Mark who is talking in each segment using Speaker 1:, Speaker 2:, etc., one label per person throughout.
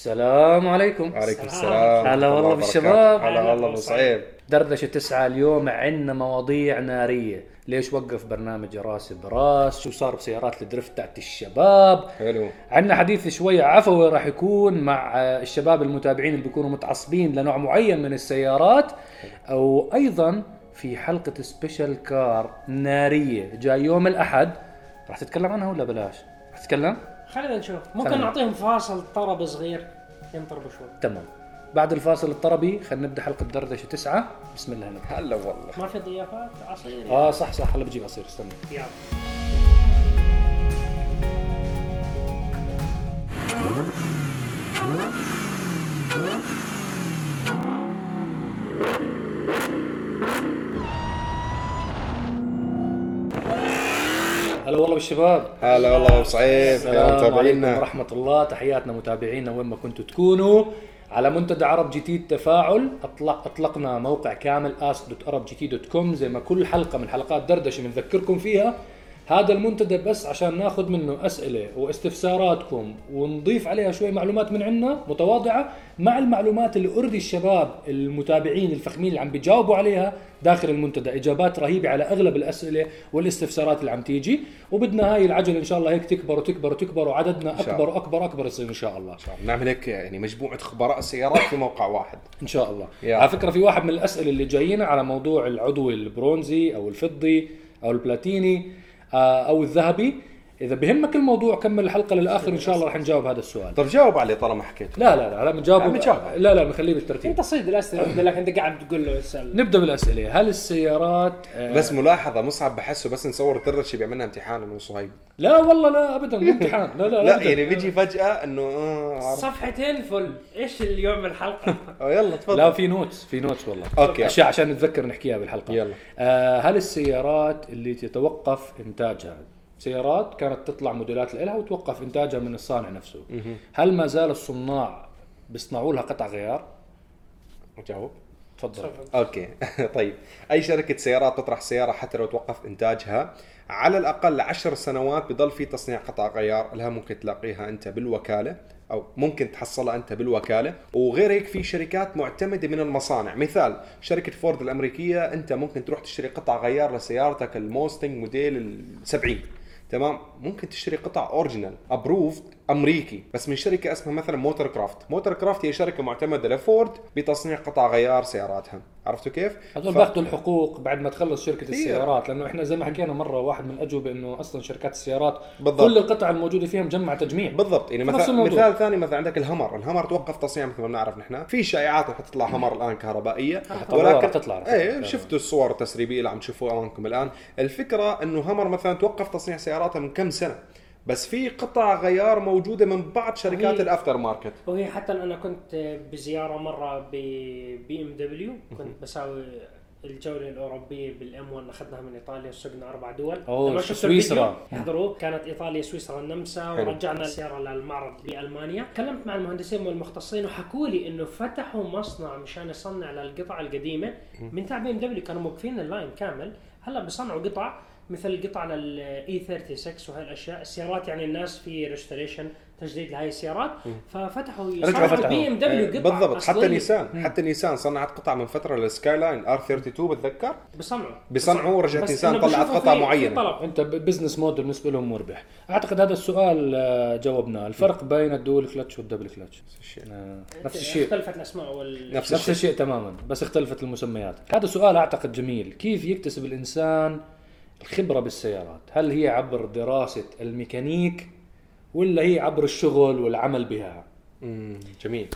Speaker 1: السلام عليكم
Speaker 2: وعليكم
Speaker 3: السلام.
Speaker 2: السلام
Speaker 1: هلا والله
Speaker 2: ورحمة الله
Speaker 1: بالشباب.
Speaker 2: وبركاته. هلا والله
Speaker 3: أهلا
Speaker 2: بالصعيب
Speaker 1: دردشة تسعة اليوم عندنا مواضيع نارية ليش وقف برنامج راس براس شو صار بسيارات الدريفت تاعت الشباب
Speaker 2: حلو
Speaker 1: عندنا حديث شوية عفوي راح يكون مع آه، الشباب المتابعين اللي بيكونوا متعصبين لنوع معين من السيارات او ايضا في حلقة سبيشال كار نارية جاي يوم الاحد راح تتكلم عنها ولا بلاش؟ راح تتكلم؟
Speaker 3: خلينا نشوف ممكن
Speaker 1: خلينا.
Speaker 3: نعطيهم فاصل طرب صغير ينطربوا شوي
Speaker 1: تمام بعد الفاصل الطربي خلينا نبدا حلقة دردشة تسعة بسم الله نبدا
Speaker 2: هلا والله
Speaker 3: ما في ضيافات عصير
Speaker 1: اه صح صح هلا بجيب عصير استنى
Speaker 3: يلا
Speaker 1: هلا والله بالشباب
Speaker 2: هلا والله بصعيب يا
Speaker 1: السلام عليكم
Speaker 2: متابعينا
Speaker 1: ورحمة الله تحياتنا متابعينا وين ما كنتوا تكونوا على منتدى عرب جديد تفاعل أطلق أطلقنا موقع كامل ask.arabgt.com زي ما كل حلقة من حلقات دردشة بنذكركم فيها هذا المنتدى بس عشان ناخذ منه أسئلة واستفساراتكم ونضيف عليها شوي معلومات من عنا متواضعة مع المعلومات اللي أردي الشباب المتابعين الفخمين اللي عم بيجاوبوا عليها داخل المنتدى إجابات رهيبة على أغلب الأسئلة والاستفسارات اللي عم تيجي وبدنا هاي العجلة إن شاء الله هيك تكبر وتكبر وتكبر وعددنا
Speaker 2: شاء
Speaker 1: أكبر وأكبر أكبر يصير إن شاء الله
Speaker 2: نعمل هيك يعني مجموعة خبراء سيارات في موقع واحد
Speaker 1: ان شاء الله
Speaker 2: يا.
Speaker 1: على فكره في واحد من الاسئله اللي جايين على موضوع العضوي البرونزي او الفضي او البلاتيني آه، او الذهبي اذا بهمك الموضوع كمل الحلقه للاخر ان شاء الله رح نجاوب هذا السؤال
Speaker 2: طب جاوب علي طالما حكيت
Speaker 1: لا لا لا لا بنجاوبه
Speaker 2: عم نجاوبه.
Speaker 1: لا لا بنخليه بالترتيب
Speaker 3: انت صيد الاسئله لكن انت قاعد تقول له اسال
Speaker 1: نبدا بالاسئله هل السيارات آه،
Speaker 2: بس ملاحظة مصعب بحسه بس نصور درشي بيعملنا امتحان من صهيب
Speaker 1: لا والله لا ابدا مو امتحان لا لا
Speaker 2: لا
Speaker 1: أبداً.
Speaker 2: يعني بيجي فجأة انه آه عرفت.
Speaker 3: صفحتين فل ايش اليوم الحلقه؟
Speaker 2: آه، يلا
Speaker 1: لا
Speaker 2: تفضل
Speaker 1: في نوتس في نوتس والله
Speaker 2: اوكي
Speaker 1: اشياء عشان نتذكر نحكيها بالحلقه
Speaker 2: يلا.
Speaker 1: آه هل السيارات اللي تتوقف انتاجها سيارات كانت تطلع موديلات لها وتوقف انتاجها من الصانع نفسه
Speaker 2: مهم.
Speaker 1: هل ما زال الصناع بيصنعوا لها قطع غيار
Speaker 2: جاوب
Speaker 1: تفضل
Speaker 2: اوكي طيب اي شركه سيارات تطرح سياره حتى لو توقف انتاجها على الاقل عشر سنوات بضل في تصنيع قطع غيار لها ممكن تلاقيها انت بالوكاله او ممكن تحصلها انت بالوكاله وغير هيك في شركات معتمده من المصانع مثال شركه فورد الامريكيه انت ممكن تروح تشتري قطع غيار لسيارتك الموستنج موديل ال 70 تمام ممكن تشتري قطع اوريجينال ابروفد امريكي بس من شركه اسمها مثلا موتور كرافت موتور كرافت هي شركه معتمده لفورد بتصنيع قطع غيار سياراتها عرفتوا كيف
Speaker 1: هذول
Speaker 2: ف-
Speaker 1: باخذوا الحقوق بعد ما تخلص شركه
Speaker 2: كثير.
Speaker 1: السيارات لانه احنا زي ما حكينا مره واحد من الاجوبه انه اصلا شركات السيارات
Speaker 2: بالضبط.
Speaker 1: كل القطع الموجوده فيها مجمع تجميع
Speaker 2: بالضبط يعني
Speaker 1: نفس
Speaker 2: مثلا
Speaker 1: الموضوع.
Speaker 2: مثال ثاني مثلا عندك الهمر الهمر توقف تصنيع مثل ما بنعرف نحن في شائعات رح تطلع همر الان كهربائيه
Speaker 1: تطلع، رح آه، تطلع، رح
Speaker 2: ايه
Speaker 1: تطلع.
Speaker 2: شفتوا الصور التسريبيه اللي عم تشوفوها امامكم الان الفكره انه همر مثلا توقف تصنيع سياراتها من كم سنه بس في قطع غيار موجوده من بعض شركات
Speaker 3: هي-
Speaker 2: الافتر ماركت
Speaker 3: وهي حتى انا كنت بزياره مره ببي ام دبليو كنت بساوي الجوله الاوروبيه بالام 1 اخذناها من ايطاليا سوقنا اربع دول
Speaker 1: أوه،
Speaker 3: لما شفت
Speaker 1: سويسرا.
Speaker 3: الفيديو، احضروه كانت ايطاليا سويسرا النمسا
Speaker 2: حلو.
Speaker 3: ورجعنا السياره للمعرض بالمانيا تكلمت مع المهندسين والمختصين وحكوا لي انه فتحوا مصنع مشان يصنع للقطع القديمه من تاع بي ام دبليو كانوا موقفين اللاين كامل هلا بصنعوا قطع مثل القطع للاي 36 وهي الاشياء السيارات يعني الناس في ريستوريشن تجديد لهي السيارات ففتحوا
Speaker 1: رجعوا فتحوا.
Speaker 3: بي ام دبليو قطع
Speaker 2: إيه، بالضبط حتى
Speaker 3: أصلية.
Speaker 2: نيسان حتى نيسان صنعت قطع من فتره للسكاي لاين ار 32 بتذكر
Speaker 3: بصنعوا
Speaker 2: بصنعوا ورجعت
Speaker 3: بس
Speaker 2: نيسان
Speaker 3: أنا
Speaker 2: طلعت
Speaker 3: بشوفه
Speaker 2: قطع
Speaker 3: في- في
Speaker 2: معينة.
Speaker 3: طلب.
Speaker 1: انت بزنس مود بالنسبه لهم مربح اعتقد هذا السؤال آه، جاوبناه الفرق بين الدول كلتش والدبل كلتش آه، نفس الشيء
Speaker 3: اختلفت الاسماء وال
Speaker 2: نفس
Speaker 1: نفس
Speaker 2: الشيء
Speaker 1: الشيء تماما بس اختلفت المسميات هذا سؤال اعتقد جميل كيف يكتسب الانسان الخبره بالسيارات هل هي عبر دراسه الميكانيك ولا هي عبر الشغل والعمل بها
Speaker 2: مم، جميل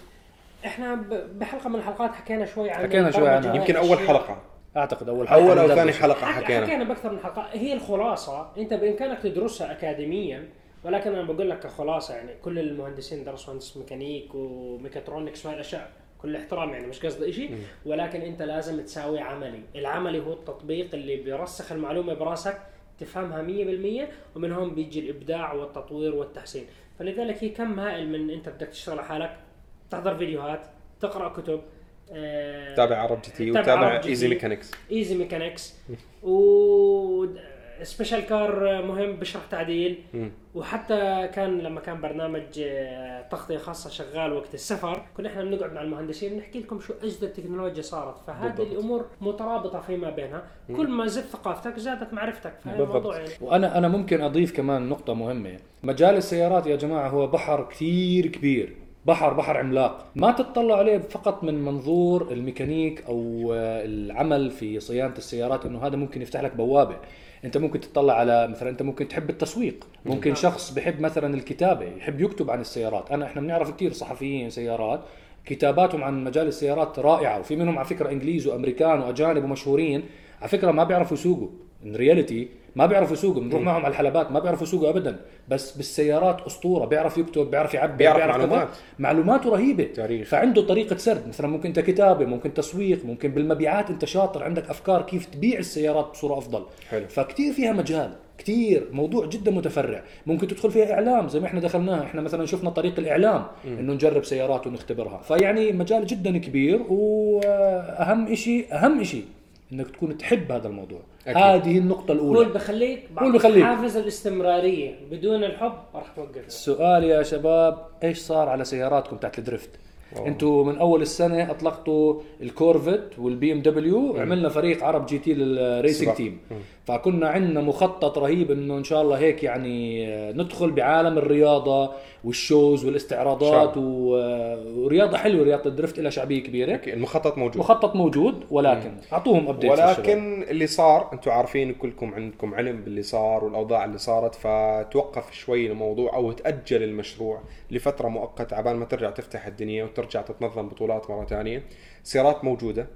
Speaker 3: احنا ب- بحلقه من الحلقات حكينا شوي عن
Speaker 1: حكينا شوي عنها.
Speaker 3: البرمجة
Speaker 2: يمكن
Speaker 3: وهاي
Speaker 2: اول
Speaker 3: الأشياء.
Speaker 2: حلقه
Speaker 1: اعتقد اول حلقه
Speaker 2: اول او
Speaker 1: ندردش.
Speaker 2: ثاني حلقه
Speaker 3: حك-
Speaker 2: حكينا
Speaker 3: حكينا باكثر من حلقه هي الخلاصه انت بامكانك تدرسها اكاديميا ولكن انا بقول لك كخلاصه يعني كل المهندسين درسوا هندسه ميكانيك وميكاترونكس وهي الاشياء كل احترام يعني مش قصدي شيء ولكن انت لازم تساوي عملي العملي هو التطبيق اللي بيرسخ المعلومه براسك تفهمها 100% ومن هون بيجي الابداع والتطوير والتحسين فلذلك هي كم هائل من انت بدك تشتغل على حالك تحضر فيديوهات تقرا كتب آه،
Speaker 2: تابع عرب جي تي
Speaker 3: تابع
Speaker 2: وتابع
Speaker 3: عرب جي
Speaker 2: ايزي
Speaker 3: تي.
Speaker 2: ميكانكس
Speaker 3: ايزي ميكانكس و سبيشال كار مهم بشرح تعديل
Speaker 2: مم.
Speaker 3: وحتى كان لما كان برنامج آه، تغطيه خاصه شغال وقت السفر كنا احنا بنقعد مع المهندسين نحكي لكم شو اجدد تكنولوجيا صارت فهذه
Speaker 2: بالضبط.
Speaker 3: الامور مترابطه فيما بينها كل ما زدت ثقافتك زادت معرفتك فهذا
Speaker 1: بالضبط.
Speaker 3: الموضوع يعني
Speaker 1: وانا انا ممكن اضيف كمان نقطه مهمه مجال السيارات يا جماعه هو بحر كثير كبير بحر بحر عملاق ما تتطلع عليه فقط من منظور الميكانيك او آه، العمل في صيانه السيارات انه هذا ممكن يفتح لك بوابه انت ممكن تطلع على مثلا انت ممكن تحب التسويق ممكن
Speaker 3: نعم.
Speaker 1: شخص بحب مثلا الكتابه يحب يكتب عن السيارات انا احنا بنعرف كثير صحفيين سيارات كتاباتهم عن مجال السيارات رائعه وفي منهم على فكره انجليز وامريكان واجانب ومشهورين على فكره ما بيعرفوا يسوقوا ان رياليتي ما بيعرفوا يسوقوا بنروح معهم على الحلبات ما بيعرفوا يسوقوا ابدا بس بالسيارات اسطوره بيعرف يكتب بيعرف يعبر
Speaker 2: بيعرف
Speaker 1: كذا.
Speaker 2: معلومات.
Speaker 1: معلوماته رهيبه
Speaker 2: تاريخ.
Speaker 1: فعنده طريقه سرد مثلا ممكن انت كتابه ممكن تسويق ممكن بالمبيعات انت شاطر عندك افكار كيف تبيع السيارات بصوره افضل
Speaker 2: حلو.
Speaker 1: فكتير فيها مجال كتير موضوع جدا متفرع ممكن تدخل فيها اعلام زي ما احنا دخلناها احنا مثلا شفنا طريق الاعلام انه نجرب سيارات ونختبرها فيعني مجال جدا كبير واهم شيء اهم شيء انك تكون تحب هذا الموضوع
Speaker 2: أكيد.
Speaker 1: هذه النقطه
Speaker 3: هو
Speaker 1: الاولى
Speaker 3: اللي بخليك
Speaker 1: هو اللي بخليك.
Speaker 3: حافز الاستمراريه بدون الحب راح توقف
Speaker 1: السؤال يا شباب ايش صار على سياراتكم تحت الدريفت
Speaker 2: أوه.
Speaker 1: انتوا من اول السنه اطلقتوا الكورفت والبي ام دبليو عملنا فريق عرب جي تي للريسنج
Speaker 2: سباق.
Speaker 1: تيم
Speaker 2: مم.
Speaker 1: فكنا عندنا مخطط رهيب انه ان شاء الله هيك يعني آه، ندخل بعالم الرياضه والشوز والاستعراضات
Speaker 2: شعب.
Speaker 1: و- آه، ورياضه حلوه رياضه الدريفت لها شعبيه كبيره
Speaker 2: اوكي المخطط موجود
Speaker 1: مخطط موجود ولكن اعطوهم ابديت
Speaker 2: ولكن اللي صار انتم عارفين كلكم عندكم علم باللي صار والاوضاع اللي صارت فتوقف شوي الموضوع او تاجل المشروع لفتره مؤقته عبال ما ترجع تفتح الدنيا وترجع تتنظم بطولات مره ثانيه سيارات موجوده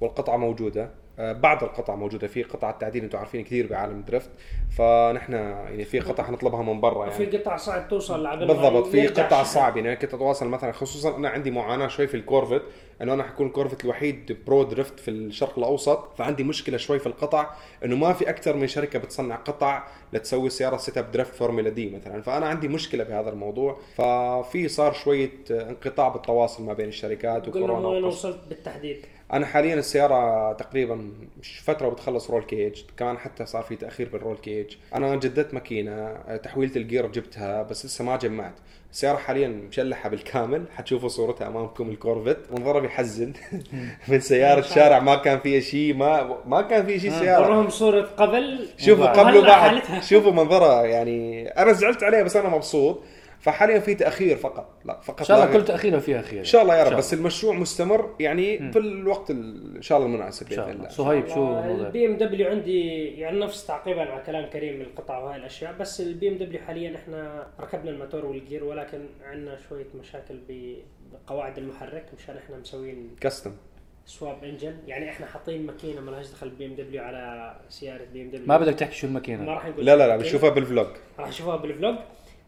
Speaker 2: والقطعه موجوده آه، بعض القطع موجوده في قطع التعديل انتم عارفين كثير بعالم درفت فنحن يعني في قطع حنطلبها من برا يعني
Speaker 3: في قطع صعب توصل لعبين
Speaker 2: بالضبط في قطع صعب يعني أنا كنت اتواصل مثلا خصوصا انا عندي معاناه شوي في الكورفت انه انا حكون الكورفت الوحيد برو درفت في الشرق الاوسط فعندي مشكله شوي في القطع انه ما في اكثر من شركه بتصنع قطع لتسوي سياره سيت اب درفت فورمولا دي مثلا فانا عندي مشكله بهذا الموضوع ففي صار شويه انقطاع بالتواصل ما بين الشركات
Speaker 3: قلنا
Speaker 2: وكورونا
Speaker 3: وين
Speaker 2: وقصة.
Speaker 3: وصلت بالتحديد
Speaker 2: انا حاليا السياره تقريبا مش فتره وبتخلص رول كيج كمان حتى صار في تاخير بالرول كيج انا جددت ماكينه تحويله الجير جبتها بس لسه ما جمعت السياره حاليا مشلحه بالكامل حتشوفوا صورتها امامكم الكورفت منظرها بيحزن من سياره شارع ما كان فيها شيء ما ما كان فيها
Speaker 1: آه،
Speaker 2: شيء سياره
Speaker 3: وراهم صورة قبل
Speaker 2: شوفوا
Speaker 1: وبعد.
Speaker 2: قبل
Speaker 3: هلا
Speaker 2: وبعد
Speaker 3: حالتها.
Speaker 2: شوفوا منظرها يعني انا زعلت عليها بس انا مبسوط فحاليا في تاخير فقط لا فقط
Speaker 1: ان شاء
Speaker 2: لا
Speaker 1: الله
Speaker 2: غير.
Speaker 1: كل تاخيرها فيها خير
Speaker 2: ان شاء الله يا رب
Speaker 1: إن
Speaker 2: بس
Speaker 1: شاء
Speaker 2: المشروع مستمر يعني في الوقت ال- ان شاء الله المناسب
Speaker 1: إن شاء
Speaker 2: باذن
Speaker 1: الله
Speaker 2: الله
Speaker 1: صهيب شو الوضع؟
Speaker 3: آه، البي ام دبليو عندي يعني نفس تعقيبا على كلام كريم من القطع وهاي الاشياء بس البي ام دبليو حاليا احنا ركبنا الموتور والجير ولكن عندنا شويه مشاكل ب- بقواعد المحرك مشان احنا مسويين
Speaker 2: كاستم
Speaker 3: سواب انجن يعني احنا حاطين ماكينه ما لهاش دخل بي ام دبليو على سياره بي ام دبليو
Speaker 1: ما بدك تحكي شو الماكينه
Speaker 3: ما راح نقول
Speaker 2: لا لا لا
Speaker 3: ماكينة.
Speaker 2: بنشوفها بالفلوج
Speaker 3: راح اشوفها بالفلوج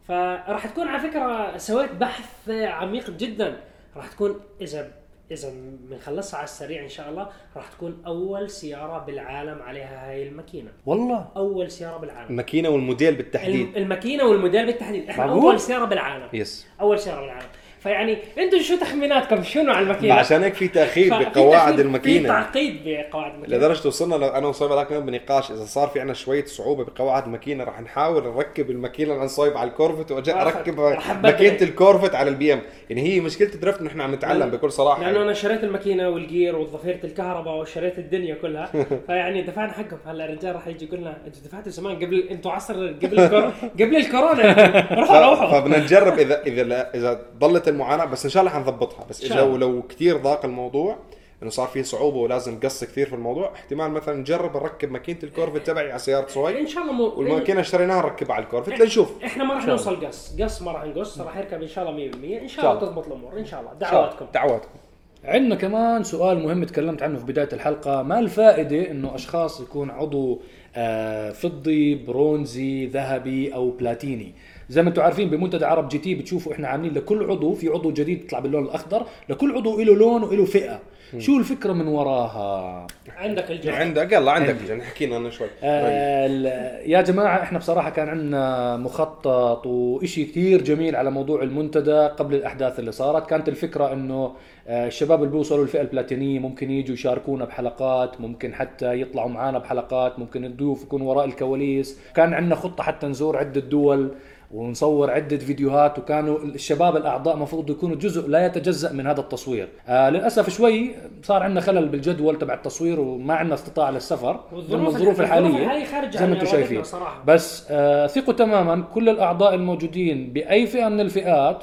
Speaker 3: فراح تكون على فكره سويت بحث عميق جدا راح تكون اذا اذا بنخلصها على السريع ان شاء الله راح تكون اول سياره بالعالم عليها هاي الماكينه
Speaker 1: والله
Speaker 3: اول سياره بالعالم
Speaker 2: الماكينه والموديل بالتحديد إيه.
Speaker 3: الم- الماكينه والموديل بالتحديد احنا
Speaker 1: معقول؟
Speaker 3: اول سياره بالعالم
Speaker 2: يس
Speaker 3: اول سياره بالعالم فيعني انتم شو تخميناتكم شنو على الماكينه
Speaker 2: عشان هيك في تاخير
Speaker 3: ففي
Speaker 2: بقواعد
Speaker 3: تأخير- في
Speaker 2: الماكينه
Speaker 3: تعقيد بقواعد الماكينه
Speaker 2: لدرجه وصلنا لو انا وصايب هذاك اليوم بنقاش اذا صار في عنا شويه صعوبه بقواعد الماكينه راح نحاول نركب الماكينه اللي عن صايب على الكورفت واجي
Speaker 3: آخر.
Speaker 2: اركب
Speaker 3: راح أبدل.
Speaker 2: ماكينه الكورفت على البي ام يعني هي مشكله الدرفت نحن عم نتعلم
Speaker 3: لأن-
Speaker 2: بكل صراحه
Speaker 3: لانه
Speaker 2: يعني.
Speaker 3: انا شريت الماكينه والجير وضفيره الكهرباء وشريت الدنيا كلها فيعني دفعنا حقهم هلا الرجال راح يجي يقول لنا انتوا دفعتوا زمان قبل انتوا عصر قبل الكورونا قبل الكورونا
Speaker 2: ف-
Speaker 3: روحوا روحوا
Speaker 2: فبدنا نجرب اذا اذا لا- اذا ضلت المعاناه بس ان شاء الله حنضبطها بس
Speaker 3: إن شاء
Speaker 2: اذا لو,
Speaker 3: الله.
Speaker 2: لو كثير ضاق الموضوع انه صار في صعوبه ولازم قص كثير في الموضوع احتمال مثلا نجرب نركب ماكينه الكورفت تبعي على سياره
Speaker 3: ان
Speaker 2: صوي
Speaker 3: شاء الله مو
Speaker 2: والماكينه اشتريناها نركبها على الكورفت لنشوف
Speaker 3: احنا ما راح
Speaker 1: إن شاء الله.
Speaker 3: نوصل قص قص ما راح نقص راح يركب ان شاء الله 100% ان
Speaker 2: إن شاء
Speaker 3: شاء
Speaker 2: الله.
Speaker 3: الله تضبط الامور ان شاء الله
Speaker 2: إن شاء الله.
Speaker 3: دعواتكم
Speaker 2: دعواتكم
Speaker 1: عندنا كمان سؤال مهم تكلمت عنه في بداية الحلقة ما الفائدة انه اشخاص يكون عضو آه، فضي برونزي ذهبي او بلاتيني زي ما انتم عارفين بمنتدى عرب جي تي بتشوفوا احنا عاملين لكل عضو في عضو جديد يطلع باللون الاخضر لكل عضو له لون وله فئه شو الفكره من وراها
Speaker 3: عندك الجهاز
Speaker 2: عندك يلا عندك
Speaker 1: عندي.
Speaker 2: عندي. حكينا عنه شوي طيب.
Speaker 1: آه، ال- يا جماعة احنا بصراحة كان عندنا مخطط وإشي كثير جميل على موضوع المنتدى قبل الأحداث اللي صارت كانت الفكرة انه آه، الشباب اللي بيوصلوا الفئة البلاتينية ممكن يجوا يشاركونا بحلقات ممكن حتى يطلعوا معانا بحلقات ممكن الضيوف يكون وراء الكواليس كان عندنا خطة حتى نزور عدة دول ونصور عدة فيديوهات وكانوا الشباب الأعضاء مفروض يكونوا جزء لا يتجزأ من هذا التصوير آه للأسف شوي صار عندنا خلل بالجدول تبع التصوير وما عندنا استطاعة للسفر من الظروف الحالية
Speaker 3: خارجه
Speaker 1: زي ما انتم
Speaker 3: عن إرادتنا
Speaker 1: شايفين.
Speaker 3: صراحه
Speaker 1: بس آه ثقوا تماما كل الاعضاء الموجودين باي فئه من الفئات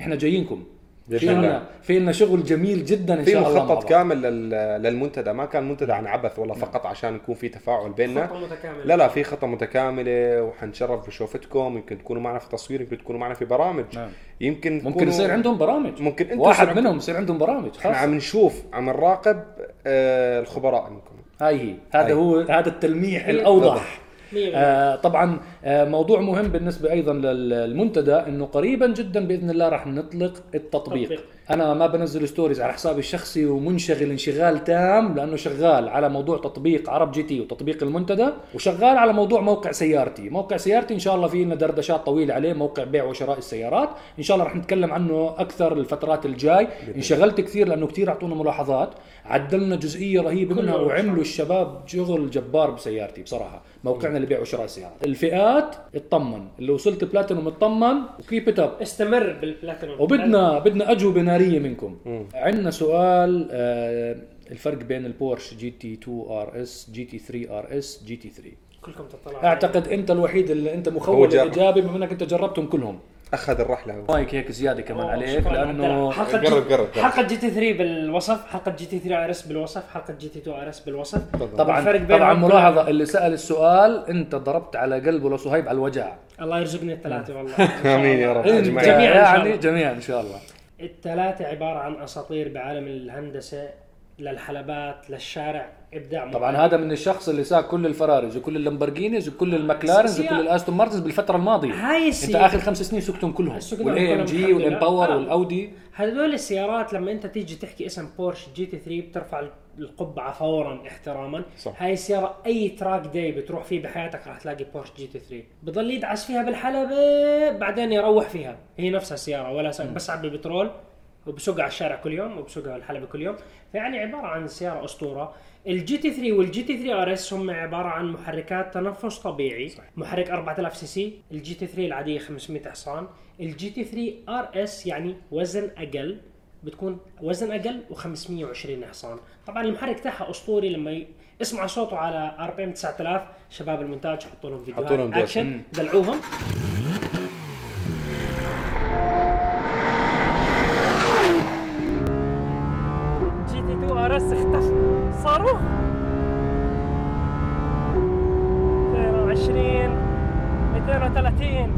Speaker 1: احنا جايينكم في
Speaker 2: بإذن الله.
Speaker 1: لنا في لنا شغل جميل جدا ان
Speaker 2: نعم. في
Speaker 1: شاء الله مع
Speaker 2: مخطط
Speaker 1: بعض.
Speaker 2: كامل لل- للمنتدى ما كان منتدى عن عبث ولا فقط عشان يكون في تفاعل بيننا
Speaker 3: خطة متكاملة.
Speaker 2: لا لا في خطه متكامله وحنشرف بشوفتكم يمكن تكونوا معنا في تصوير يمكن تكونوا معنا في برامج
Speaker 1: نعم.
Speaker 2: يمكن
Speaker 1: ممكن
Speaker 2: تكونوا-
Speaker 1: يصير عندهم برامج
Speaker 2: ممكن انتم
Speaker 1: واحد
Speaker 2: يصير-
Speaker 1: منهم يصير عندهم برامج
Speaker 2: احنا
Speaker 1: خاص
Speaker 2: عم نشوف عم نراقب آه الخبراء منكم
Speaker 1: هاي هي هذا
Speaker 2: هاي.
Speaker 1: هو هذا التلميح الاوضح
Speaker 3: مية بالمية.
Speaker 1: آه طبعا آه موضوع مهم بالنسبه ايضا للمنتدى انه قريبا جدا باذن الله راح نطلق التطبيق
Speaker 3: تطبيق.
Speaker 1: انا ما بنزل ستوريز على حسابي الشخصي ومنشغل انشغال تام لانه شغال على موضوع تطبيق عرب جي تي وتطبيق المنتدى وشغال على موضوع موقع سيارتي موقع سيارتي ان شاء الله في لنا دردشات طويله عليه موقع بيع وشراء السيارات ان شاء الله راح نتكلم عنه اكثر الفترات الجاي انشغلت كثير لانه كثير اعطونا ملاحظات عدلنا جزئيه رهيبه منها
Speaker 3: كله
Speaker 1: وعملوا الشباب شغل جبار بسيارتي بصراحه موقعنا اللي بيع وشراء السيارات الفئات اطمن اللي وصلت بلاتينوم اطمن وكيب ات اب
Speaker 3: استمر بالبلاتينوم
Speaker 1: وبدنا بدنا اجوبه ناريه منكم عندنا سؤال آه الفرق بين البورش جي تي 2 ار اس جي تي 3 ار اس جي تي 3
Speaker 3: كلكم تطلعوا
Speaker 1: اعتقد انت الوحيد اللي انت
Speaker 2: هو
Speaker 1: مخول
Speaker 2: جرب.
Speaker 1: الاجابه بما انك انت جربتهم كلهم
Speaker 2: اخذ الرحله هو
Speaker 1: مايك هيك زياده كمان
Speaker 3: أوه،
Speaker 1: عليك
Speaker 3: شكراً عبدالله.
Speaker 1: لانه
Speaker 3: حلقه
Speaker 2: قرب-
Speaker 3: جي-
Speaker 2: قرب- قرب.
Speaker 3: حلقه جي تي 3 بالوصف حلقه جي تي 3 ار اس بالوصف حلقه جي تي 2 ار اس بالوصف الفرق
Speaker 1: طبعا
Speaker 3: بينهم
Speaker 1: طبعا
Speaker 3: كله-
Speaker 1: ملاحظه اللي سال السؤال انت ضربت على قلبه لصهيب على الوجع
Speaker 3: الله يرزقني الثلاثه والله إن شاء
Speaker 2: نعم. آمين يا
Speaker 3: الله.
Speaker 2: رب.
Speaker 1: انت
Speaker 2: جميعاً.
Speaker 3: إن شاء
Speaker 1: يعني
Speaker 3: الله.
Speaker 1: جميعا ان شاء الله
Speaker 3: الثلاثه عباره عن اساطير بعالم الهندسه للحلبات للشارع ابداع
Speaker 1: طبعا هذا من الشخص اللي ساق كل الفراريز وكل اللامبرجينيز وكل المكلارنز
Speaker 3: سيارة.
Speaker 1: وكل الاستون مارتنز بالفتره الماضيه
Speaker 3: هاي
Speaker 1: انت
Speaker 3: السيارة
Speaker 1: اخر خمس سنين سكتهم كلهم
Speaker 3: سكتهم
Speaker 1: والاي ام
Speaker 3: كلهم الحمد
Speaker 1: جي
Speaker 3: لله.
Speaker 1: والامباور
Speaker 3: آه.
Speaker 1: والاودي
Speaker 3: هذول السيارات لما انت تيجي تحكي اسم بورش جي تي 3 بترفع القبعه فورا احتراما
Speaker 2: صح.
Speaker 3: هاي السياره اي تراك داي بتروح فيه بحياتك راح تلاقي بورش جي تي 3 بضل يدعس فيها بالحلبه بعدين يروح فيها هي نفسها السياره ولا سنة. بسعى بالبترول وبسوقها على الشارع كل يوم وبسوقها على الحلبه كل يوم فيعني عباره عن سياره اسطوره الجي تي 3 والجي تي 3 ار اس هم عباره عن محركات تنفس طبيعي صح. محرك 4000 سي سي الجي تي 3 العاديه 500 حصان الجي تي 3 ار اس يعني وزن اقل بتكون وزن اقل و520 حصان طبعا المحرك تاعها اسطوري لما ي... اسمع صوته على ار بي ام 9000 شباب المونتاج حطوا لهم فيديوهات
Speaker 2: حطوا لهم ديش.
Speaker 3: اكشن دلعوهم جي تي 2 ار اس اختفى صاروخ 22 230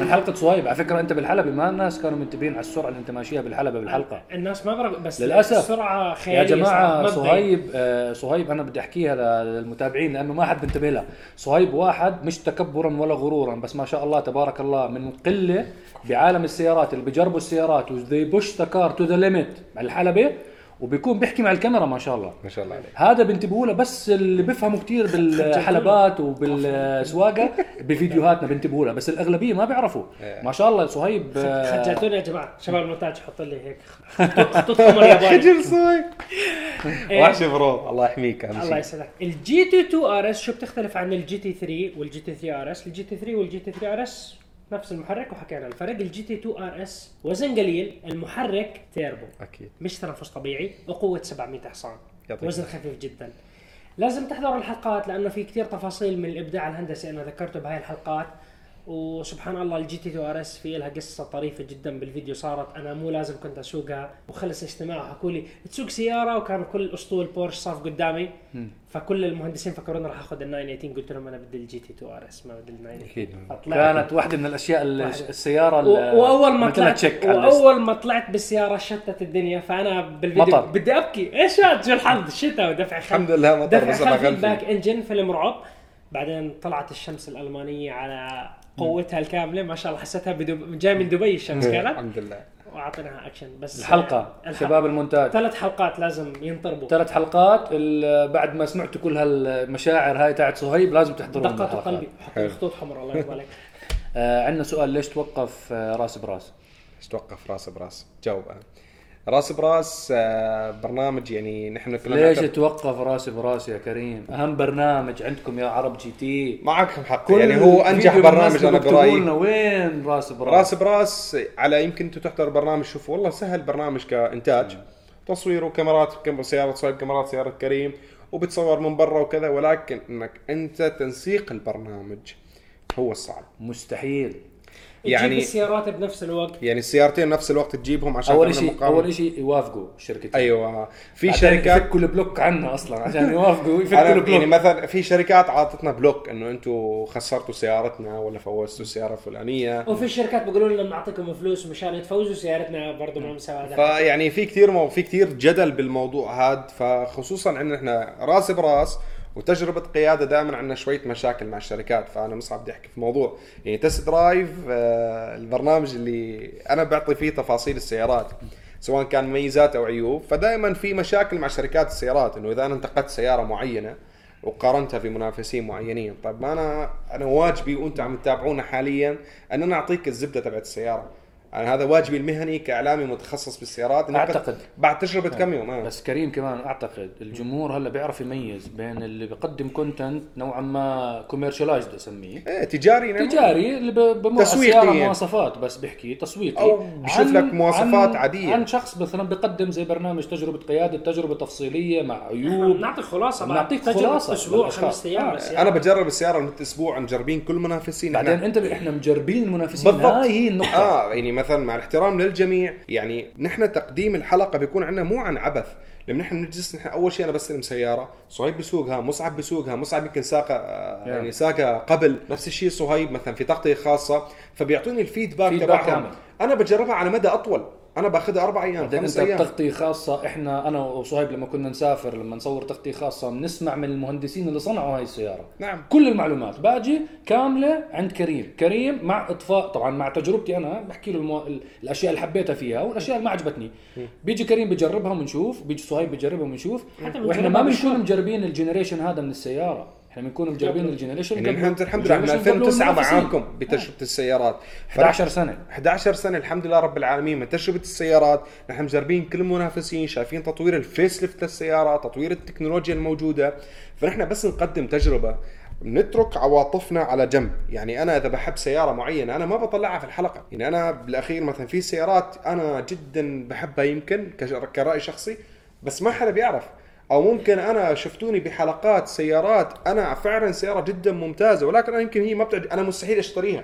Speaker 1: من حلقه صهيب على فكره انت بالحلبه ما الناس كانوا منتبهين على السرعه اللي انت ماشيها بالحلبه بالحلقه
Speaker 3: الناس ما برق بس
Speaker 1: للأسف.
Speaker 3: السرعه خياليه
Speaker 1: يا جماعه
Speaker 3: صراحة، ما بتبين.
Speaker 1: صهيب آه، صهيب انا بدي احكيها للمتابعين لانه ما حد بينتبه لها صهيب واحد مش تكبرا ولا غرورا بس ما شاء الله تبارك الله من قله بعالم السيارات اللي بيجربوا السيارات وذي بوش ذا كار تو ذا ليميت مع الحلبه وبيكون بيحكي مع الكاميرا ما شاء الله
Speaker 2: ما شاء الله عليك
Speaker 1: هذا بنتبهوا له بس اللي بيفهموا كثير بالحلبات وبالسواقه بفيديوهاتنا بنتبهوا له بس الاغلبيه ما بيعرفوا ما شاء الله صهيب آه،
Speaker 3: خجلتوني يا جماعه شباب المونتاج حط لي هيك خطوط قمر ياباني
Speaker 2: خجل صاير وحش برو الله يحميك اهم
Speaker 3: إيه. الله
Speaker 2: شيء
Speaker 3: يسلمك الجي تي 2 ار اس شو بتختلف عن الجي تي 3 والجي تي 3 ار اس الجي تي 3 والجي تي 3 ار اس نفس المحرك وحكينا الفرق الجي تي 2 ار اس وزن قليل المحرك تيربو
Speaker 2: اكيد
Speaker 3: مش تنفس طبيعي وقوة 700 حصان
Speaker 2: يعطيك
Speaker 3: وزن خفيف جدا لازم تحضر الحلقات لانه في كثير تفاصيل من الابداع الهندسي انا ذكرته بهاي الحلقات وسبحان الله الجي تي 2 ار اس في لها قصه طريفه جدا بالفيديو صارت انا مو لازم كنت اسوقها وخلص اجتماع حكوا لي تسوق سياره وكان كل اسطول بورش صاف قدامي فكل المهندسين فكروني راح اخذ ال 918 قلت لهم انا بدي الجي تي 2 ار اس ما بدي ال 918 فطلعت
Speaker 1: كانت واحده من الاشياء ال-
Speaker 3: واحدة.
Speaker 1: السياره ال-
Speaker 3: و- واول ما
Speaker 1: مثلها
Speaker 3: طلعت
Speaker 1: تشيك على الليست.
Speaker 3: واول ما طلعت بالسياره شتت الدنيا فانا بالفيديو
Speaker 1: مطر.
Speaker 3: بدي ابكي ايش هذا شو الحظ شتاء ودفع خلف
Speaker 2: الحمد لله مطر
Speaker 3: دفع
Speaker 2: بس ما
Speaker 3: خلفي
Speaker 2: غلفي.
Speaker 3: باك انجن فيلم رعب بعدين طلعت الشمس الالمانيه على قوتها الكامله ما شاء الله حسيتها بدب... جاي من دبي الشمس كانت
Speaker 2: الحمد لله
Speaker 3: واعطيناها اكشن بس
Speaker 1: الحلقه شباب المونتاج
Speaker 3: ثلاث حلقات لازم ينطربوا
Speaker 1: ثلاث حلقات ال- بعد ما سمعتوا كل هالمشاعر هاي تاعت صهيب لازم تحضروا
Speaker 3: دقات قلبي
Speaker 2: حلو.
Speaker 3: حط خطوط حمراء الله يرضى عليك
Speaker 1: آه عندنا سؤال ليش توقف آه، راس براس؟
Speaker 2: ايش توقف راس براس جاوب انا راس براس آه، برنامج يعني نحن كنا
Speaker 1: ليش
Speaker 2: نعتبر-
Speaker 1: توقف راس براس يا كريم؟ اهم برنامج عندكم يا عرب جي تي
Speaker 2: معكم حق يعني هو انجح برنامج انا برايي
Speaker 1: برايي وين راس براس؟
Speaker 2: راس براس على يمكن انتم تحضر برنامج شوفوا والله سهل برنامج كانتاج تصوير وكاميرات كم سياره صاحب كاميرات سياره كريم وبتصور من برا وكذا ولكن انك انت تنسيق البرنامج هو الصعب
Speaker 1: مستحيل
Speaker 2: يعني-
Speaker 3: يعني تجيب السيارات بنفس الوقت
Speaker 2: يعني السيارتين نفس الوقت تجيبهم عشان
Speaker 1: اول
Speaker 2: تعمل
Speaker 1: شيء
Speaker 2: مقابل.
Speaker 1: اول شيء يوافقوا شركتين
Speaker 2: ايوه في
Speaker 1: بعدين
Speaker 2: شركات
Speaker 1: يفكوا البلوك عنا اصلا عشان يوافقوا يفكوا
Speaker 2: أنا يعني
Speaker 1: البلوك
Speaker 2: مثلا في شركات عاطتنا بلوك انه انتم خسرتوا سيارتنا ولا فوزتوا السياره الفلانيه
Speaker 3: وفي الشركات بيقولوا لنا بنعطيكم فلوس مشان تفوزوا سيارتنا برضه ما مساعدة
Speaker 2: فيعني في كثير مو في كثير جدل بالموضوع هذا فخصوصا عندنا احنا راس براس وتجربة قيادة دائما عندنا شوية مشاكل مع الشركات فأنا مصعب بدي أحكي في موضوع يعني تست درايف آه، البرنامج اللي أنا بعطي فيه تفاصيل السيارات سواء كان ميزات أو عيوب فدائما في مشاكل مع شركات السيارات إنه إذا أنا انتقدت سيارة معينة وقارنتها بمنافسين معينين طيب ما أنا أنا واجبي وأنت عم تتابعونا حاليا أن أنا أعطيك الزبدة تبعت السيارة يعني هذا واجبي المهني كاعلامي متخصص بالسيارات إني
Speaker 1: أعتقد.
Speaker 2: بعد تجربه كم يوم آه.
Speaker 1: بس كريم كمان اعتقد الجمهور هلا بيعرف يميز بين اللي بيقدم كونتنت نوعا ما كوميرشلايزد اسميه
Speaker 2: ايه تجاري نعم.
Speaker 1: تجاري اللي ب- بمر
Speaker 2: تسويقي
Speaker 1: السيارة
Speaker 2: يعني.
Speaker 1: مواصفات بس بحكي تسويقي
Speaker 2: أو بشوف
Speaker 1: عن-
Speaker 2: لك مواصفات
Speaker 1: عن
Speaker 2: عادية.
Speaker 1: عن شخص مثلا بيقدم زي برنامج تجربه قياده تجربه تفصيليه مع عيوب
Speaker 3: نعطي خلاصة بعد
Speaker 1: نعطيك
Speaker 3: تجربة
Speaker 1: طيب. خلاصة
Speaker 3: اسبوع
Speaker 1: للأشخاص.
Speaker 3: خمس ايام
Speaker 1: آه،
Speaker 3: بس يعني.
Speaker 2: انا بجرب السياره لمده اسبوع مجربين كل منافسين
Speaker 1: بعدين
Speaker 2: إحنا-
Speaker 1: انت احنا مجربين المنافسين هاي هي النقطه
Speaker 2: اه يعني مثلا مع الاحترام للجميع يعني نحن تقديم الحلقه بيكون عندنا مو عن عبث لما نحن نجلس نحن اول شيء انا بستلم سياره صهيب بسوقها مصعب بسوقها مصعب يمكن ساقه آه، يعني ساقه قبل نفس الشيء صهيب مثلا في تغطيه خاصه فبيعطوني الفيدباك
Speaker 1: فيدباك
Speaker 2: تبعهم
Speaker 1: كامل.
Speaker 2: انا بجربها على مدى اطول انا باخذها اربع ايام
Speaker 1: بعدين انت
Speaker 2: خمس ايام
Speaker 1: بتغطية خاصة احنا انا وصهيب لما كنا نسافر لما نصور تغطية خاصة بنسمع من المهندسين اللي صنعوا هاي السيارة
Speaker 2: نعم.
Speaker 1: كل المعلومات باجي كاملة عند كريم، كريم مع اطفاء طبعا مع تجربتي انا بحكي له المو... ال- الاشياء اللي حبيتها فيها والاشياء اللي ما عجبتني بيجي كريم بجربها ونشوف بيجي صهيب بجربها ونشوف
Speaker 3: حتى
Speaker 1: واحنا ما
Speaker 3: بنجربها
Speaker 1: بنكون مجربين الجنريشن هذا من السيارة احنا بنكون مجربين الجنريشن
Speaker 2: يعني
Speaker 1: قبله.
Speaker 2: نحن الحمد لله من
Speaker 1: الجنريشن قبله
Speaker 2: 2009
Speaker 1: والمنافسين.
Speaker 2: معاكم بتجربه السيارات
Speaker 1: 11 سنة
Speaker 2: 11 سنه الحمد لله رب العالمين من تجربه السيارات نحن مجربين كل المنافسين شايفين تطوير الفيس ليفت للسياره تطوير التكنولوجيا الموجوده فنحن بس نقدم تجربه نترك عواطفنا على جنب يعني انا اذا بحب سياره معينه انا ما بطلعها في الحلقه يعني انا بالاخير مثلا في سيارات انا جدا بحبها يمكن كج- كراي شخصي بس ما حدا بيعرف او ممكن انا شفتوني بحلقات سيارات انا فعلا سياره جدا ممتازه ولكن انا يمكن هي ما بتعجب انا مستحيل اشتريها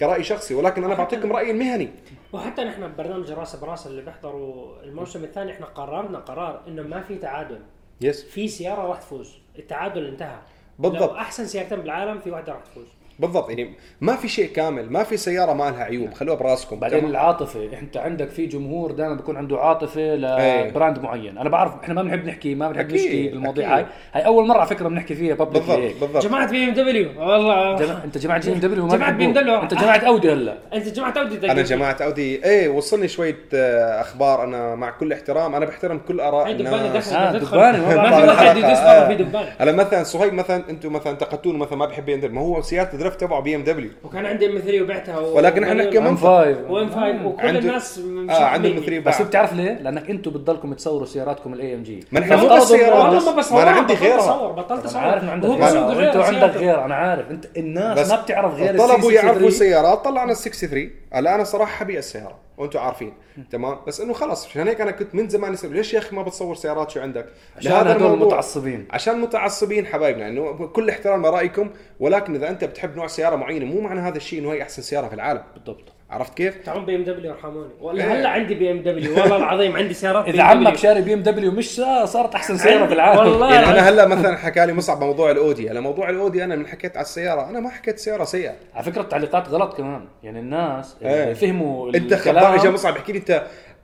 Speaker 2: كراي شخصي ولكن انا بعطيكم رايي المهني
Speaker 3: وحتى نحن ببرنامج راس براس اللي بيحضروا الموسم الثاني احنا قررنا قرار انه ما في تعادل
Speaker 2: يس
Speaker 3: في سياره راح تفوز التعادل انتهى
Speaker 2: بالضبط.
Speaker 3: لو احسن سيارتين بالعالم في واحده راح تفوز
Speaker 2: بالضبط يعني ما في شيء كامل ما في سياره ما لها عيوب خلوها براسكم
Speaker 1: بعدين
Speaker 2: تمام؟
Speaker 1: العاطفه انت عندك في جمهور دائما بيكون عنده عاطفه
Speaker 2: إيه.
Speaker 1: لبراند معين انا بعرف احنا ما بنحب نحكي ما بنحب
Speaker 2: أكيد،
Speaker 1: نشكي بالمواضيع هاي
Speaker 2: أكيد.
Speaker 1: هاي اول مره على فكره بنحكي فيها
Speaker 2: بالضبط
Speaker 1: بابليك
Speaker 2: بالضبط
Speaker 3: جماعه بي ام دبليو والله
Speaker 1: جماعة انت جماعه جي ام دبليو ما
Speaker 3: جماعة
Speaker 1: بيحبوك.
Speaker 3: BMW.
Speaker 1: انت جماعه اودي هلا
Speaker 3: انت جماعه اودي
Speaker 2: انا جماعه اودي ايه وصلني شويه آه، اخبار انا مع كل احترام انا بحترم كل اراء
Speaker 3: هاي دبانه
Speaker 2: الناس
Speaker 3: دخل
Speaker 1: آه،
Speaker 3: تدخل.
Speaker 1: دبانة، ما
Speaker 3: ما
Speaker 1: بعرف
Speaker 3: في واحد
Speaker 2: الحلقة،
Speaker 3: يدوس
Speaker 2: آه.
Speaker 3: مره في دبانه
Speaker 2: هلا مثلا صهيب مثلا انتم مثلا انتقدتوني مثلا ما بحب بي ام دبليو ما هو سياره درفت تبعه بي ام دبليو
Speaker 3: وكان عندي ام 3 وبعتها و...
Speaker 2: ولكن إحنا نحكي
Speaker 1: ام
Speaker 2: منطق.
Speaker 3: وام 5
Speaker 1: فايف
Speaker 3: وكل
Speaker 2: عنده-
Speaker 3: الناس مش
Speaker 2: اه عندهم
Speaker 3: فاهميني.
Speaker 2: 3
Speaker 1: بس بتعرف ليه؟ لانك انتم بتضلكم تصوروا سياراتكم الاي ام جي
Speaker 2: ما نحن مو
Speaker 1: نفترض
Speaker 2: بس سيارات.
Speaker 1: إنه-
Speaker 3: والله ما
Speaker 2: ما
Speaker 3: بصور
Speaker 2: أنا عندي غيرها.
Speaker 3: بصور بطلت
Speaker 1: انا
Speaker 3: اصور
Speaker 1: عارف انه عندك
Speaker 3: وهو
Speaker 1: غير وانت
Speaker 3: بيسوق غير
Speaker 1: عندك
Speaker 3: سيارته.
Speaker 1: غير انا عارف انت الناس ما بتعرف غير
Speaker 2: طلبوا
Speaker 1: السي سي
Speaker 2: يعرفوا
Speaker 1: 3.
Speaker 2: سيارات طلعنا السكس 63 هلا انا صراحه حبي السياره وانتم عارفين تمام بس انه خلص عشان هيك انا كنت من زمان اسال ليش يا اخي ما بتصور سيارات شو عندك؟
Speaker 1: عشان
Speaker 2: لهذا
Speaker 1: هذول
Speaker 2: الموضوع.
Speaker 1: المتعصبين
Speaker 2: عشان متعصبين حبايبنا انه كل احترام لرايكم ولكن اذا انت بتحب نوع سياره معينه مو معنى هذا الشيء انه هي احسن سياره في العالم
Speaker 1: بالضبط
Speaker 2: عرفت كيف؟
Speaker 3: تعون بي ام دبليو ارحموني والله
Speaker 2: إيه.
Speaker 3: هلا عندي بي ام دبليو والله العظيم عندي سيارات
Speaker 1: اذا
Speaker 3: BMW.
Speaker 1: عمك شاري بي ام دبليو مش سا- صارت احسن سياره
Speaker 3: عندي-
Speaker 1: في العالم
Speaker 3: والله.
Speaker 2: يعني انا هلا مثلا حكى لي مصعب موضوع الاودي، هلا موضوع الاودي انا من حكيت على السياره، انا ما حكيت سياره سيئه،
Speaker 1: على فكره التعليقات غلط كمان يعني الناس
Speaker 2: إيه.
Speaker 1: اللي فهموا
Speaker 2: انت خبر
Speaker 1: الكلام-
Speaker 2: اجى مصعب يحكي لي انت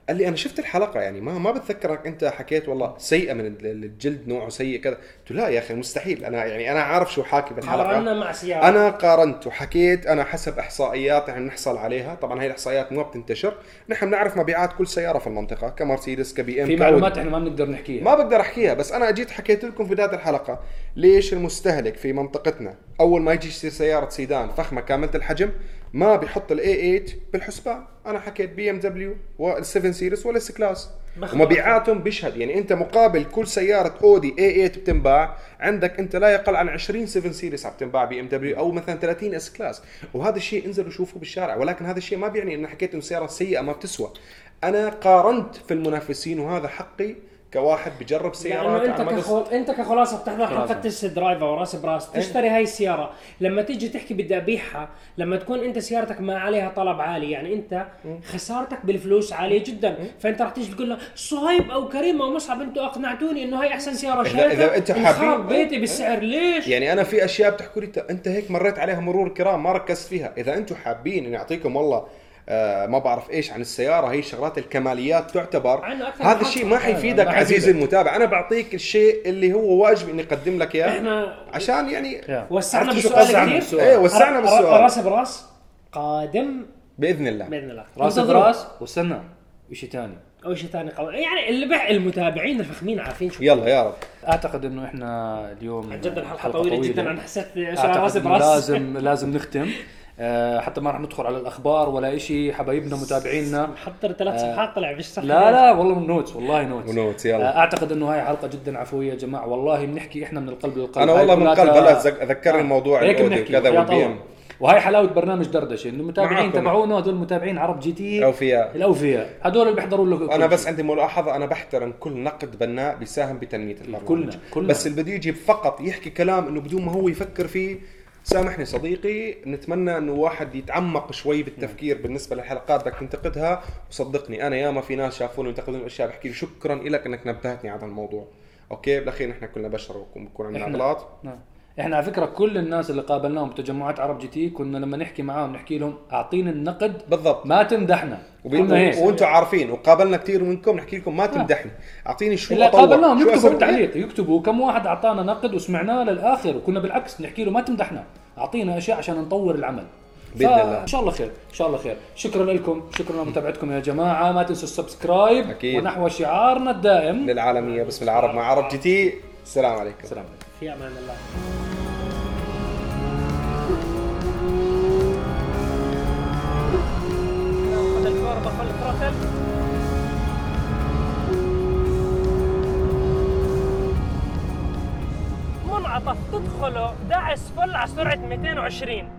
Speaker 2: قال لي انا شفت الحلقه يعني ما ما بتذكرك انت حكيت والله سيئه من ال- الجلد نوعه سيء كذا، قلت له لا يا اخي مستحيل انا يعني انا عارف شو حاكي بالحلقه
Speaker 3: قارنا مع سياره
Speaker 2: انا قارنت وحكيت انا حسب احصائيات احنا نحصل عليها طبعا هي الاحصائيات ما بتنتشر نحن بنعرف مبيعات كل سياره في المنطقه كمرسيدس كبي ام
Speaker 1: في
Speaker 2: كأودي.
Speaker 1: معلومات احنا ما بنقدر نحكيها
Speaker 2: ما بقدر احكيها بس انا اجيت حكيت لكم في بدايه الحلقه ليش المستهلك في منطقتنا اول ما يجي يشتري سياره سيدان فخمه كامله الحجم ما بيحط الاي 8 بالحسبان انا حكيت بي ام دبليو وال7 سيريس والاس كلاس
Speaker 3: بخ-
Speaker 2: ومبيعاتهم بيشهد يعني انت مقابل كل سياره اودي اي 8 بتنباع عندك انت لا يقل عن 20 7 سيريس عم تنباع بي ام دبليو او مثلا 30 اس كلاس وهذا الشيء انزلوا شوفوه بالشارع ولكن هذا الشيء ما بيعني انه حكيت انه سياره سيئه ما بتسوى انا قارنت في المنافسين وهذا حقي كواحد بجرب سيارات
Speaker 3: يعني انت
Speaker 2: على مدى
Speaker 3: كخل... انت كخلاصه بتحضر
Speaker 1: خلاصة.
Speaker 3: حلقه تست درايف او راس براس
Speaker 2: إيه.
Speaker 3: تشتري هاي السياره لما تيجي تحكي بدي ابيعها لما تكون انت سيارتك ما عليها طلب عالي يعني انت
Speaker 2: إيه.
Speaker 3: خسارتك بالفلوس عاليه جدا فانت راح تيجي تقول له صهيب او كريم او مصعب انتوا اقنعتوني انه هاي احسن سياره
Speaker 2: إذا-
Speaker 3: شريتها
Speaker 2: إذا أنتوا
Speaker 3: انخرب
Speaker 2: حابين-
Speaker 3: بيتي بالسعر ليش؟
Speaker 2: يعني انا في اشياء بتحكوا لي طيب "أنت- انت هيك مريت عليها مرور كرام ما ركزت فيها اذا انتم حابين اني اعطيكم والله آه ما بعرف ايش عن السياره هي شغلات الكماليات تعتبر
Speaker 3: عنه أكثر
Speaker 2: هذا
Speaker 3: من
Speaker 2: الشيء
Speaker 3: حلقة.
Speaker 2: ما حيفيدك
Speaker 1: ما
Speaker 2: عزيزي
Speaker 1: حيفيدك.
Speaker 2: المتابع انا بعطيك الشيء اللي هو واجب اني اقدم لك اياه
Speaker 3: احنا
Speaker 2: عشان يعني
Speaker 1: يا.
Speaker 3: وسعنا
Speaker 2: عرفت شو
Speaker 3: بالسؤال
Speaker 1: إيه، وسعنا
Speaker 3: كثير
Speaker 1: بالسؤال.
Speaker 2: ايه وسعنا
Speaker 3: را-
Speaker 2: بالسؤال
Speaker 3: راس براس قادم
Speaker 2: باذن الله
Speaker 3: باذن الله
Speaker 1: راس
Speaker 3: انتظروا.
Speaker 1: براس وسنه شيء ثاني
Speaker 3: اول شيء ثاني قوي يعني اللي بع المتابعين الفخمين عارفين شو
Speaker 2: يلا يا رب
Speaker 1: اعتقد انه احنا اليوم
Speaker 3: عن جد الحلقه
Speaker 1: حلقة
Speaker 3: طويله جدا انا حسيت سؤال راس
Speaker 1: اعتقد إنه
Speaker 3: براس
Speaker 1: لازم لازم نختم آه، حتى ما راح ندخل على الاخبار ولا شيء حبايبنا متابعيننا
Speaker 3: محضر ثلاث صفحات طلع مش صح
Speaker 1: لا لا والله نوتس والله نوتس
Speaker 2: ونوتس،
Speaker 1: آه،
Speaker 2: يلا.
Speaker 1: اعتقد انه هاي حلقه جدا عفويه يا جماعه والله بنحكي احنا من القلب للقلب
Speaker 2: انا
Speaker 1: هاي
Speaker 2: والله من
Speaker 1: كلها-
Speaker 2: قلب هلا تذك-
Speaker 1: آه،
Speaker 2: ذكرني موضوع
Speaker 1: هيك
Speaker 2: الاودي
Speaker 1: بنحكي
Speaker 2: وكذا
Speaker 1: وحياة
Speaker 2: والبي
Speaker 1: الله.
Speaker 2: ام
Speaker 1: وهي حلاوه برنامج دردشه انه المتابعين
Speaker 2: معكم.
Speaker 1: تبعونا هذول المتابعين عرب جي تي
Speaker 2: اوفياء
Speaker 1: الاوفياء هذول اللي بيحضروا له كل
Speaker 2: انا بس
Speaker 1: شيء.
Speaker 2: عندي ملاحظه انا بحترم كل نقد بناء بيساهم بتنميه البرنامج
Speaker 1: كلنا- كلنا.
Speaker 2: بس اللي بده يجيب فقط يحكي كلام انه بدون ما هو يفكر فيه سامحني صديقي نتمنى انه واحد يتعمق شوي بالتفكير بالنسبه للحلقات بدك تنتقدها وصدقني انا ياما في ناس شافوني ينتقدون الاشياء بحكي لي شكرا لك انك نبهتني على هذا الموضوع اوكي بالاخير نحن كلنا بشر وبكون عندنا
Speaker 1: إحنا.
Speaker 2: اغلاط
Speaker 1: نعم. احنا على فكره كل الناس اللي قابلناهم بتجمعات عرب جي تي كنا لما نحكي معاهم نحكي لهم اعطينا النقد
Speaker 2: بالضبط
Speaker 1: ما تمدحنا
Speaker 2: وبين-
Speaker 1: كنا هيك
Speaker 2: وانتم عارفين وقابلنا كثير منكم نحكي لكم ما تمدحني اعطيني شو
Speaker 1: اللي قابلناهم
Speaker 2: شو
Speaker 1: يكتبوا
Speaker 2: أسوي؟
Speaker 1: التعليق يكتبوا كم واحد اعطانا نقد وسمعناه للاخر وكنا بالعكس نحكي له ما تمدحنا اعطينا اشياء عشان نطور العمل
Speaker 2: بإذن الله.
Speaker 1: ان شاء الله خير ان شاء الله خير شكرا لكم شكرا لمتابعتكم يا جماعه ما تنسوا السبسكرايب
Speaker 2: أكيد.
Speaker 1: ونحو شعارنا الدائم
Speaker 2: للعالميه باسم العرب مع عرب جي تي السلام عليكم
Speaker 1: السلام عليكم
Speaker 3: في امان الله باخذ الفور بخل التروتل منعطف تدخله دعس فل على سرعه 220